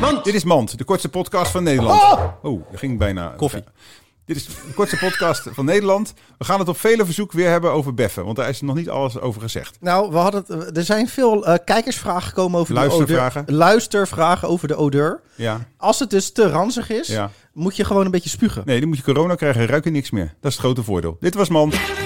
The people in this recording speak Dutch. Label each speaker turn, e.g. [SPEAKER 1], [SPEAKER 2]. [SPEAKER 1] Mand.
[SPEAKER 2] Dit is Mand, de kortste podcast van Nederland. Oh, dat ging bijna.
[SPEAKER 1] Koffie.
[SPEAKER 2] Dit is de kortste podcast van Nederland. We gaan het op vele verzoek weer hebben over beffen, want daar is nog niet alles over gezegd.
[SPEAKER 3] Nou, we hadden het, er zijn veel eh, kijkersvragen gekomen over de
[SPEAKER 2] Luistervragen.
[SPEAKER 3] odeur. Luistervragen over de odeur.
[SPEAKER 2] Ja,
[SPEAKER 3] Als het dus te ranzig is,
[SPEAKER 2] ja.
[SPEAKER 3] moet je gewoon een beetje spugen.
[SPEAKER 2] Nee, dan moet je corona krijgen en ruik je niks meer. Dat is het grote voordeel. Dit was Mand.